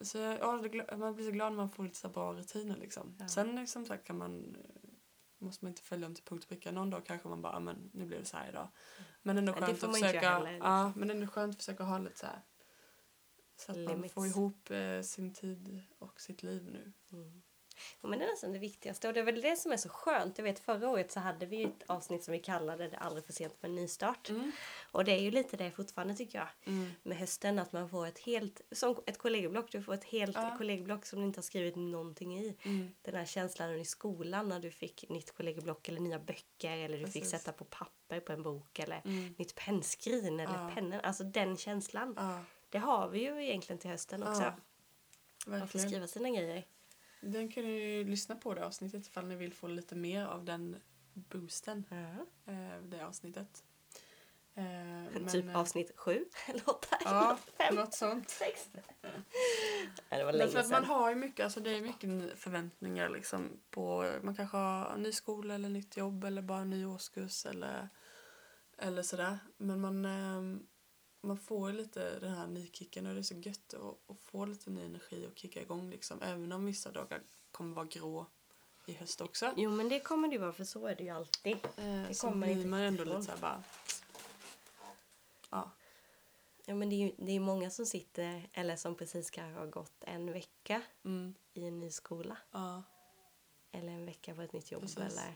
så jag, ja, det gla- man blir så glad när man får lite så här bra rutiner liksom. Ja. Sen eh, som sagt kan man eh, måste man inte följa dem till punkt och pricka. Någon dag kanske man bara, "Ah, men nu blev det så här idag. Men ändå Mm. Ja, det skönt får att man inte göra försöka, heller, liksom. ja, men ändå skönt att försöka ha lite så här så att man Limits. får ihop eh, sin tid och sitt liv nu. Ja, men det är nästan det viktigaste och det är väl det som är så skönt. Jag vet förra året så hade vi ju ett avsnitt som vi kallade det aldrig för sent för en nystart. Mm. Och det är ju lite det fortfarande tycker jag. Med hösten att man får ett helt, som ett kollegieblock, du får ett helt Ja. kollegieblock som du inte har skrivit någonting i. Mm. Den här känslan i skolan när du fick nytt kollegieblock eller nya böcker eller du fick Precis. sätta på papper på en bok eller Mm. nytt pennskrin eller Ja. pennor. Alltså den känslan. Ja, Det har vi ju egentligen till hösten också. Ja, man får verkligen. skriva sina grejer. Den kan ni ju lyssna på det avsnittet ifall ni vill få lite mer av den boosten, Ja. eh, det avsnittet. Eh, men, (laughs) typ eh, avsnitt sju (laughs) eller åtta eller Ja, något, (laughs) fem, något sånt. sex. Ja, det var Men länge för att sedan. man har ju mycket, alltså det är mycket förväntningar liksom på, man kanske har en ny skola eller nytt jobb eller bara en ny årskurs eller, eller sådär. Men man, ehm, man får ju lite den här nykicken och det är så gött att, att få lite ny energi och kicka igång liksom. Även om vissa dagar kommer vara grå i höst också. Jo men det kommer det ju vara för så är det ju alltid. Eh, så kommer blir inte man ändå ifrån. lite såhär bara... Ja. Ja, men det är ju det är många som sitter, eller som precis kanske har gått en vecka Mm. i en ny skola. Ja. Eller en vecka på ett nytt jobb. Precis. Eller,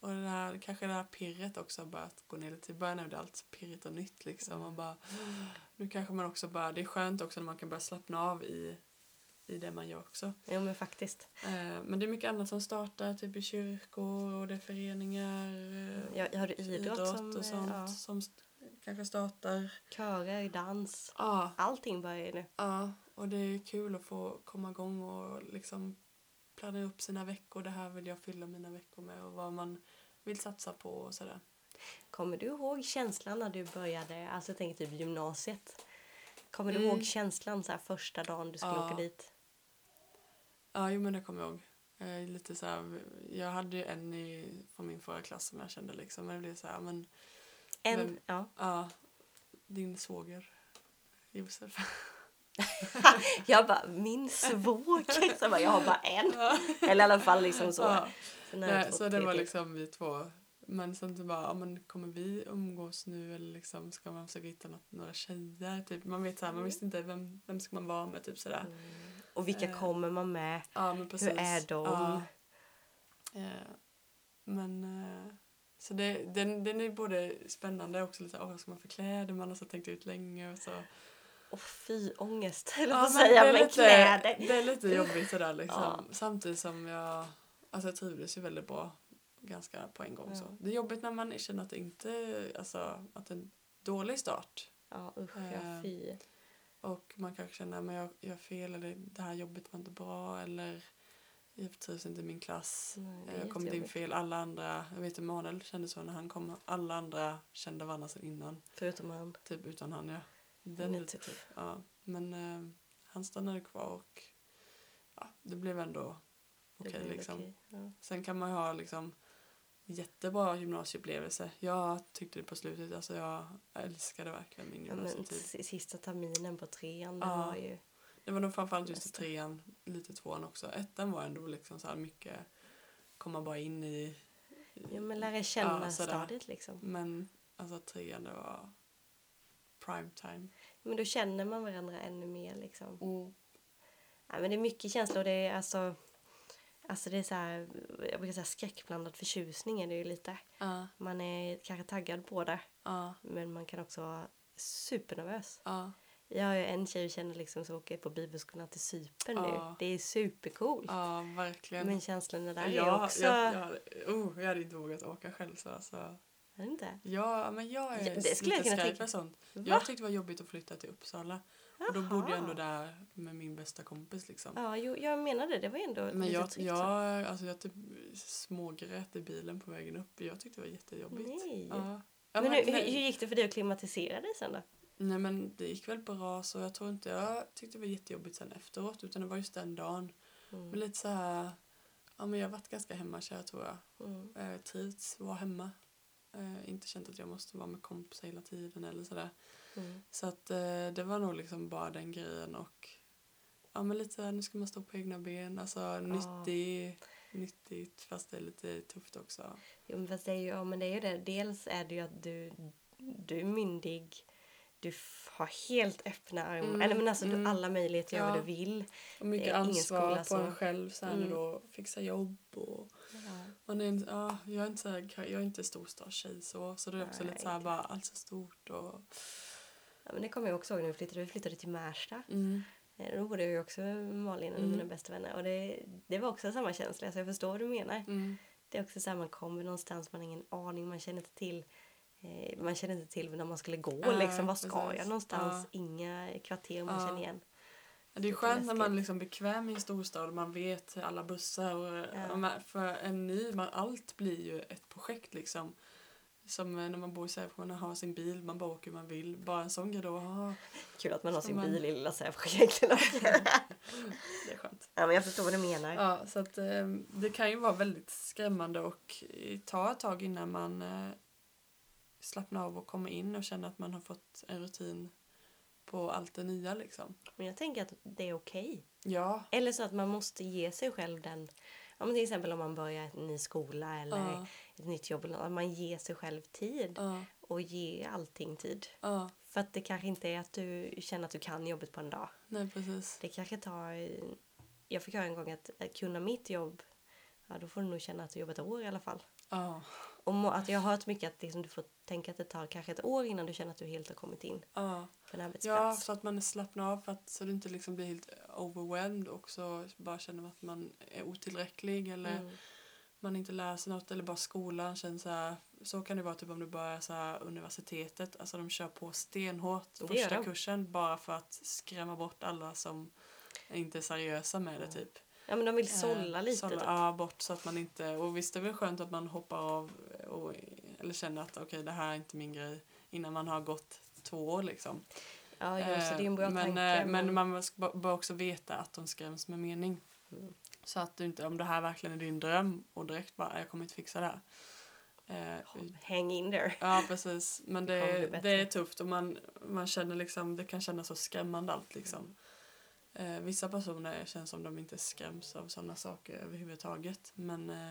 Och det här, kanske det här pirret också bara att gå ner lite i början är det allt pirrigt och nytt liksom. Man bara, nu kanske man också bara, det är skönt också när man kan börja slappna av i, i det man gör också. ja, men faktiskt. Eh, men det är mycket annat som startar, typ i kyrkor och det är föreningar. eh, Jag, jag har du idrott, som, eh, och sånt Ja, som st- kanske startar. körer, dans. Ja, Allting börjar ju nu. ja, och det är ju kul att få komma igång och liksom planera upp sina veckor. Det här vill jag fylla mina veckor med och vad man vill satsa på och sådär. Kommer du ihåg känslan när du började, alltså jag tänker typ gymnasiet? Kommer du Mm. ihåg känslan så här första dagen du skulle Ja. åka dit? Ja, jo, men det kommer jag ihåg. Eh, lite så här, jag hade ju en i, från min förra klass som jag kände liksom. Men det blev så här, men En, Vem- ja. ja, din svåger Josef. Jag bara, min svåger! (laughs) Så bara, jag har bara en. Eller i alla fall liksom (laughs) så. Ja. Så, när jag Nej, var så det var tre- liksom vi två. Men sen så bara, ja, men kommer vi umgås nu eller liksom ska man försöka hitta något, några tjejer? Typ. Man vet så Mm. här, man visste inte vem, vem ska man vara med typ sådär. Och vilka eh, kommer man med? Ja, men precis. Mm. Hur är de? Ja. Eh, men eh, så det, den, den är både spännande och också lite, åh vad ska man för kläder? Man har så tänkt ut länge och så. Åh fy, ångest höll jag på Ja, att men säga. det är lite- Men kläder. Det är lite jobbigt (laughs) sådär liksom. Ja. Samtidigt som jag, alltså jag trivdes ju väldigt bra ganska på en gång Ja. så. Det är jobbigt när man känner att det inte, alltså att det är en dålig start. Ja usch ja, Eh, fy. Och man kanske känner att jag jag gör fel eller det här jobbet var inte bra eller jag trivs inte i min klass. Nej, det är jag eh, kom in jättejobbigt. fel. Alla andra, jag vet Emanuel kände så när han kom. Alla andra kände varandra sedan innan. Förutom han. Typ utan han ja. Den Han är är lite tuff. tuff. Ja. Men eh, han stannade kvar och ja, det blev ändå Det okej var väl liksom. okej, Ja. Sen kan man ju ha liksom jättebra gymnasieupplevelse. Jag tyckte det på slutet, alltså jag älskade verkligen min Ja, men gymnasietid. s- sista terminen på trean, det typ- Ja. var ju... Det var nog framförallt just i trean, lite tvåan också. Ettan var ändå liksom så här mycket komma bara in i. Ja, men lära känna Ja, sådär. stadiet liksom. Men alltså trean det var prime time. Men då känner man varandra ännu mer liksom. Ja, men det är mycket känslor. Det är alltså... Alltså det är så här, jag brukar säga skräckblandad förtjusning är det ju lite. Ja, Man är kanske taggad på det, ja, men man kan också vara supernervös. ja, Jag har ju en tjej jag känner liksom som åker på bibelskolan till Cypern nu. Ja. Det är supercoolt. ja, verkligen. Men känslan är där är jag, också... jag, jag, hade- oh, jag hade inte vågat åka själv så alltså. Är det inte? Ja, men jag är Ja, det skulle jag lite kunna skraj tänka- för sånt. Va? Jag tyckte det var jobbigt att flytta till Uppsala. Och då bodde jag ändå där med min bästa kompis liksom. Ja, jo, jag menade det. Det var ju ändå Men lite jag, tryggt. så. jag, alltså jag typ smågrät i bilen på vägen upp. Jag tyckte det var jättejobbigt. Nej. Ja. Ja, Men men, hur, hur, hur nej, gick det för dig att klimatisera dig sen då? nej men det gick väl bra så jag tror inte jag tyckte det var jättejobbigt sen efteråt utan det var just den dagen. Mm. Men lite så här, ja men jag har varit ganska hemmakär tror jag. Mm. Eh, trivts, var hemma. Eh, inte känt att jag måste vara med kompisar hela tiden eller sådär. Mm. Så att eh, det var nog liksom bara den grejen och ja men lite så här, nu ska man stå på egna ben, alltså nyttig, nyttigt fast det är lite tufft också. Jo, men fast det är ju, ja, men det är ju det. Dels är det ju att du, du är myndig. Du f- har helt öppna armar. Mm, Eller men alltså du mm. har alla möjligheter att göra Ja. vad du vill. Och mycket är ingen skola ansvar på som- en själv så här Mm. nu då, fixa jobb och man är en, ja, jag är inte så här, jag är inte storstadstjej så, så det är också Nej, lite så här inte. bara allt så stort och Ja, men det kommer jag också ihåg när vi flyttade. Vi flyttade till Märsta. mm, Eh, Då bodde jag ju också med Malin, en av Mm. mina bästa vänner. Och det, det var också samma känsla, så jag förstår vad du menar. mm, Det är också så här, man kommer någonstans, man har ingen aning, man känner inte till eh, man känner inte till när man skulle gå, Nej, liksom, var ska precis. jag någonstans? Ja. Inga kvarter man Ja. känner igen. Det är Lite skönt när man läskigt. liksom är bekväm i en storstad och man vet alla bussar och Ja. och man- för en ny, man, allt blir ju ett projekt liksom. Som eh, när man bor i Sävsjö, man har sin bil, man bara åker hur man vill. Bara en sån grej då, ah, Kul att man har Så sin man- bil i lilla Sävsjö egentligen. det är skönt. ja, men jag förstår vad du menar. Ja, så att eh, det kan ju vara väldigt skrämmande och eh, ta ett tag innan man eh, slappnar av och kommer in och känner att man har fått en rutin på allt det nya liksom. Men jag tänker att det är okej. Ja, Eller så att man måste ge sig själv den, ja ja, men till exempel om man börjar en ny skola eller Ja. ett nytt jobb. eller något, Att man ger sig själv tid Ja. och ger allting tid. Ja. För att det kanske inte är att du känner att du kan jobbet på en dag. Nej, precis. Det kanske tar... eh, Jag fick höra en gång att att kunna mitt jobb, ja då får du nog känna att du jobbat ett år i alla fall. Ja. Och må, att jag har hört mycket att liksom, du får tänka att det tar kanske ett år innan du känner att du helt har kommit in Ja. på en ja, arbetsplats. så att man slappnar av för att, så du inte liksom blir helt overwhelmed och så bara känner att man är otillräcklig eller Mm. man inte läser något eller bara skolan känns så här. Så kan det vara typ om du börjar så här, universitetet, alltså de kör på stenhårt Det gör första de. kursen bara för att skrämma bort alla som inte är seriösa med det typ. Ja, men de vill Eh, sålla lite. sålla- typ. Ja, bort så att man inte... Och visst det är väl skönt att man hoppar av och, eller känner att okej det här är inte min grej innan man har gått två år liksom. Ja, jo, så det är en bra Eh, men, tanke. eh, men man ska- bör också veta att de skräms med mening. Mm. Så att du inte, om det här verkligen är din dröm och direkt bara jag kommer inte fixa det här. Eh, Hang in there. Ja precis, men det, Det kommer bli är- bättre. det är tufft och man, man känner liksom, det kan kännas så skrämmande allt liksom. Eh, vissa personer känns som de inte skräms av sådana saker överhuvudtaget men eh,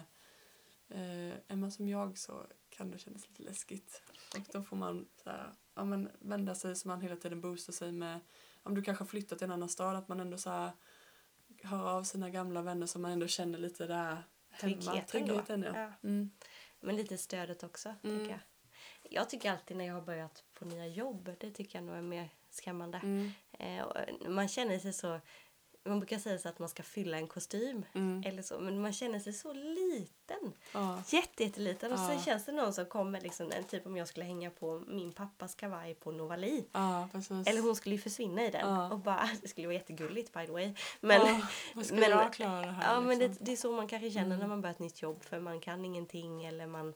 eh, är man som jag så kan det kännas lite läskigt. Och då får man så här, ja, men vända sig så man hela tiden boostar sig med, om du kanske har flyttat till en annan stad, att man ändå så här, hör av sina gamla vänner som man ändå känner lite där hemma. (laughs) Tryggheten Tryggheten då. ja. Ja. Mm. Men lite stödet också, Mm. tycker jag. Jag tycker alltid när jag har börjat på nya jobb, det tycker jag nog är mer skrämmande. Mm. Eh, och man känner sig så... Man brukar säga så att man ska fylla en kostym. Mm. Eller så, men man känner sig så liten. Ja. Jätte, jätteliten. Och sen Ja. känns det någon som kommer, liksom, en typ om jag skulle hänga på min pappas kavaj på Novali. ja, precis. Eller hon skulle ju försvinna i den. Ja. Och bara, (laughs) det skulle vara jättegulligt by the way. Men, (laughs) ja, vad ska men- jag klara det här? Ja, men liksom? Mm. det, det är så man kanske känner när man börjar ett nytt jobb för man kan ingenting eller man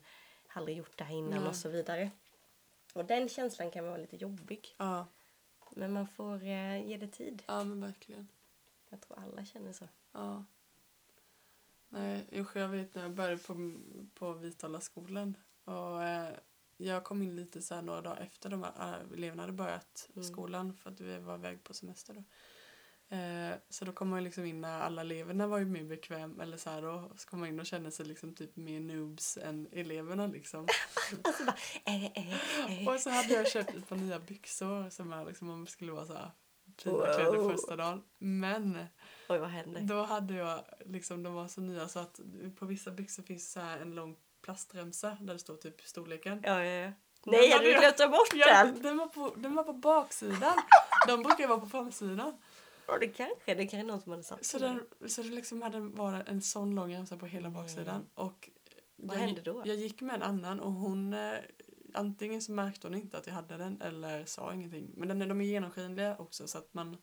har aldrig gjort det här innan Nej. och så vidare. Och den känslan kan vara lite jobbig. ja. Men man får eh, ge det tid. ja, men verkligen. Jag tror alla känner så. (laughs) Ja. Nej, usch, jag vet när jag började på, på Vitala skolan och eh, jag kom in lite så här några dagar efter de här äh, eleverna hade börjat Mm. skolan för att vi var iväg på semester då. Eh, så då kom man ju liksom in när alla eleverna var ju mer bekväm eller så här då, så kom man in och kände sig liksom typ mer noobs än eleverna liksom. Alltså bara, eh, eh, eh. Och så hade jag köpt ett par nya byxor som jag liksom om skulle vara så här fina Wow. kläder första dagen. Men Oj, vad händer? då hade jag liksom, de var så nya så att på vissa byxor finns så här en lång plastremsa där det står typ storleken. Ja, ja, ja. hade Nej, hade du jag- glömt ta bort Jag, den? den, var på, den var på baksidan. De brukar ju vara på framsidan. Ja, det kanske. Det kanske är någon som hade satt Så, den. den, så det liksom hade varit en sån lång remsa på hela baksidan. Och Mm. Vad jag, hände då? Jag gick med en annan och hon eh, antingen så märkte hon inte att jag hade den eller sa ingenting. Men den, de är genomskinliga också så att man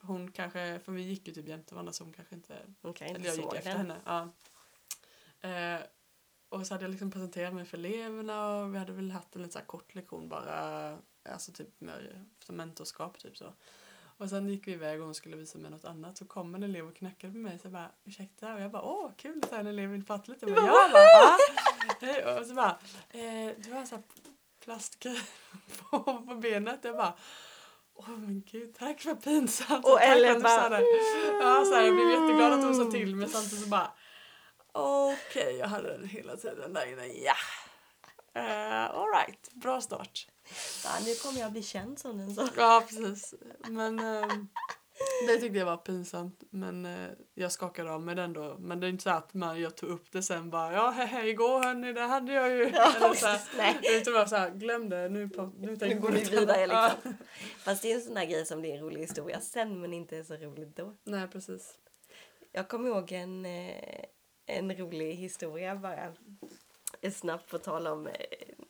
hon kanske, för vi gick ju typ jämte varandra så hon kanske inte Hon kan eller inte jag gick såg efter den. henne. Ja. Eh, och så hade jag liksom presenterat mig för eleverna och vi hade väl haft en lite så här kort lektion bara. Alltså typ med, som mentorskap typ så. Och sen gick vi iväg och hon skulle visa mig något annat så kom en elev och knackade på mig så jag bara ursäkta och jag bara åh kul att en elev vill prata lite. Och jag bara, "Ja." Hej. Och så bara eh, du har så här plastgrej på, på benet. Jag bara åh men gud tack för pinsamt. Och tack för Ellen att du bara, sa det." Ja, så här, jag blev jätteglad att hon sa till men samtidigt så bara okej, jag hade den hela tiden där inne. Ja! Uh, Alright, bra start. Ja, nu kommer jag bli känd som den som... Ja, precis. Men ehm, det tyckte jag var pinsamt. Men eh, jag skakade av mig den då. Men det är inte så att man, jag tog upp det sen bara ja, hej, hej, igår hörni, det hade jag ju. Ja, (laughs) Eller så här, precis. Nej. utan bara så här, glöm det, nu, på, nu tänker Nu går vi vi på något vidare annat. Ja. liksom. Fast det är en sån där grej som blir en rolig historia sen men inte är så roligt då. Nej, precis. Jag kommer ihåg en, eh, en rolig historia bara. Eh, Snabbt på tal om, eh,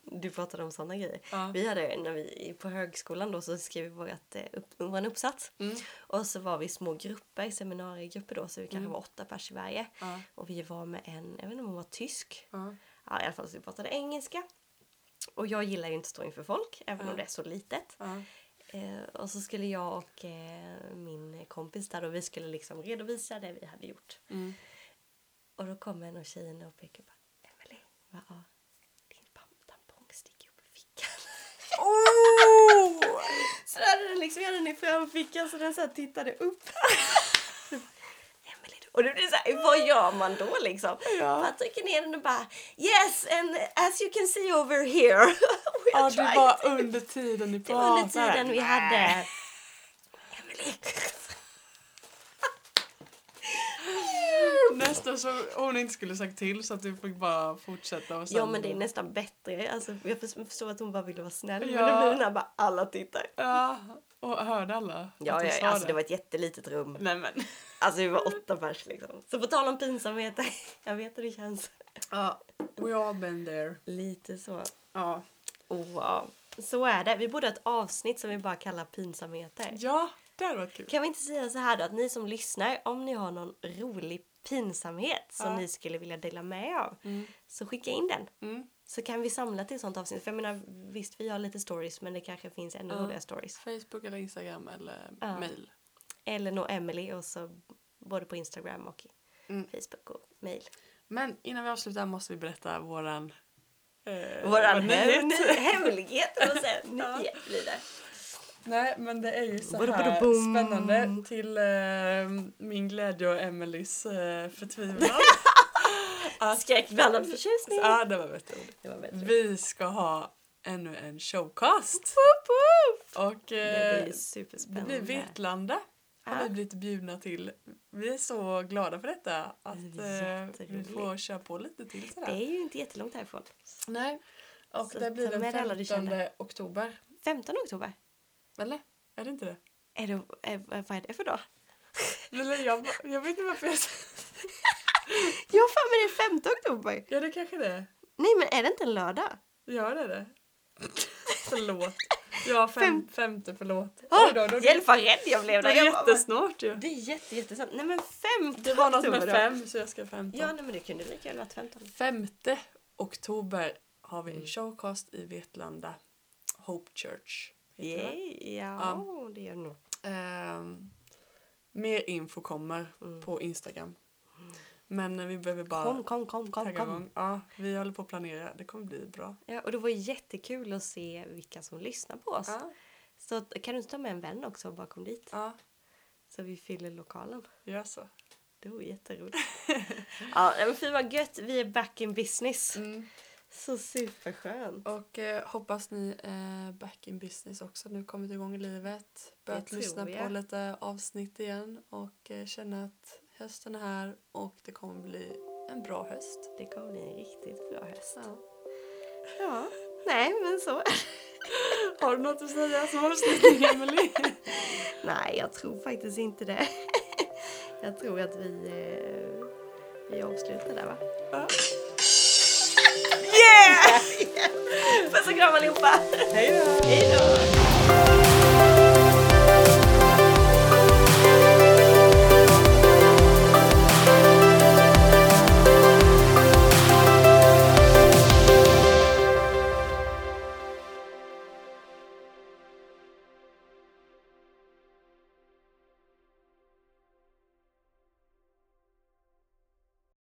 du pratade om sådana grejer. Ja. Vi hade, när vi på högskolan då så skrev vi vårat, eh, upp, vår uppsats. Mm. Och så var vi i små grupper, seminariegrupper då, så vi kanske Mm. var åtta pers i varje. Ja. Och vi var med en, jag vet inte om hon var tysk. Ja. Ja, i alla fall så vi pratade engelska. Och jag gillar ju inte att stå inför folk, även Ja. om det är så litet. Ja. Eh, och så skulle jag och eh, min kompis där då, vi skulle liksom redovisa det vi hade gjort. Mm. Och då kommer en av tjejerna och pekar på Emelie, va, ja, din pam- tampong sticker upp i fickan. (laughs) Oh! Så (laughs) där hade den liksom, jag hade den i framfickan så den så här tittade upp. Emelie, du Och det blir så här, vad gör man då liksom? Man trycker ner den och bara yes and as you can see over here. (laughs) we Ja, are det trying var to-" under tiden ni det var pratade. under tiden vi hade... Emily. Nästan så hon inte skulle sagt till så att du fick bara fortsätta. Och sen... Ja men det är nästan bättre. Alltså, jag förs- förstår att hon bara ville vara snäll. Ja. Men det blir den här bara alla tittar. Ja, och hörde alla? att Ja, hon ja sa alltså det var ett jättelitet rum. Nej men. Alltså vi var åtta pers liksom. Så på tal om pinsamhet, (laughs) jag vet hur det känns. Ja, we all been there. Lite så. Ja. Oh, ja. Så är det. Vi borde ha ett avsnitt som vi bara kallar pinsamheter. Ja, det hade varit kul. Kan vi inte säga så här då att ni som lyssnar, om ni har någon rolig pinsamhet som Ja. ni skulle vilja dela med er av, så skicka in den. Mm. Så kan vi samla till ett sånt avsnitt. För jag menar, visst vi har lite stories men det kanske finns ännu Ja. roligare stories. Facebook eller Instagram eller Ja. mail. Ellen och Emily och så både på Instagram och i Mm. Facebook och mail. Men innan vi avslutar måste vi berätta våran... Eh, Våran nyhet. hem, (laughs) hemlighet, eller (laughs) vad säger jag? Nyhet blir det. Nej men det är ju så Bada, här bada, boom. spännande till eh, min glädje och Emelies eh, förtvivlan. att, Skräckblandad förtjusning. (laughs) ja, det var bättre ord. Det var bättre. Vi ska ha ännu en showcast. Och Det eh, blir det blir superspännande. Vetlanda. Har Ja. vi blivit bjudna till. Vi är så glada för detta. Att Det blir eh, vi jätteroligt. får köra på lite till sådär. Det är ju inte jättelångt härifrån. Nej. Och Så det blir ta med alla den du 15 känner. oktober. 15 oktober. Eller? Är det inte det? Är det, är, vad är det för dag? Eller jag, jag vet inte varför jag sa- Jo, fan men det är 15 oktober! Ja, det kanske det är. Nej, men är det inte en lördag? Ja, det är det. förlåt. Ja, fem, Ah, Fem- femte, förlåt. Oh, Oj då, då, Hjälp vad rädd jag det blev! var där. Jag bara, jättesnart ju. Det är jätte, jättesant. Nej men 15 Det var något med oktober då. fem, så jag ska femton. Ja, nej men det kunde lika gärna varit 15. Femte oktober har vi en showcast i Vetlanda. Hope Church. heter det, va? Yay, ja, det gör det nog. Ehm, mer info kommer på Instagram. Men vi behöver bara Kom, kom, kom, kom, tagga kom. igång. Ja, vi håller på att planera. Det kommer bli bra. Ja, och det var jättekul att se vilka som lyssnar på oss. Ja, Så att- kan du inte ta med en vän också och bara kom dit? ja Så vi fyller lokalen. gör så. Det (laughs) vore jätteroligt. ja, nej, men fy vad gött. Vi är back in business. Mm. Så superskönt. Och eh, hoppas ni är back in business också nu kommit igång i livet. Börjat tror lyssna på jag. lite avsnitt igen och eh, känna att hösten är här och det kommer bli en bra höst. Det kommer bli en riktigt bra höst. Ja. Ja, nej men så. Har du något att säga som avslutning Emily? nej, jag tror faktiskt inte det. (laughs) jag tror att vi, eh, vi avslutar där va? (laughs) Ja. Yeah! (laughs) Puss och kram allihopa! (laughs) Hej då! Hej då!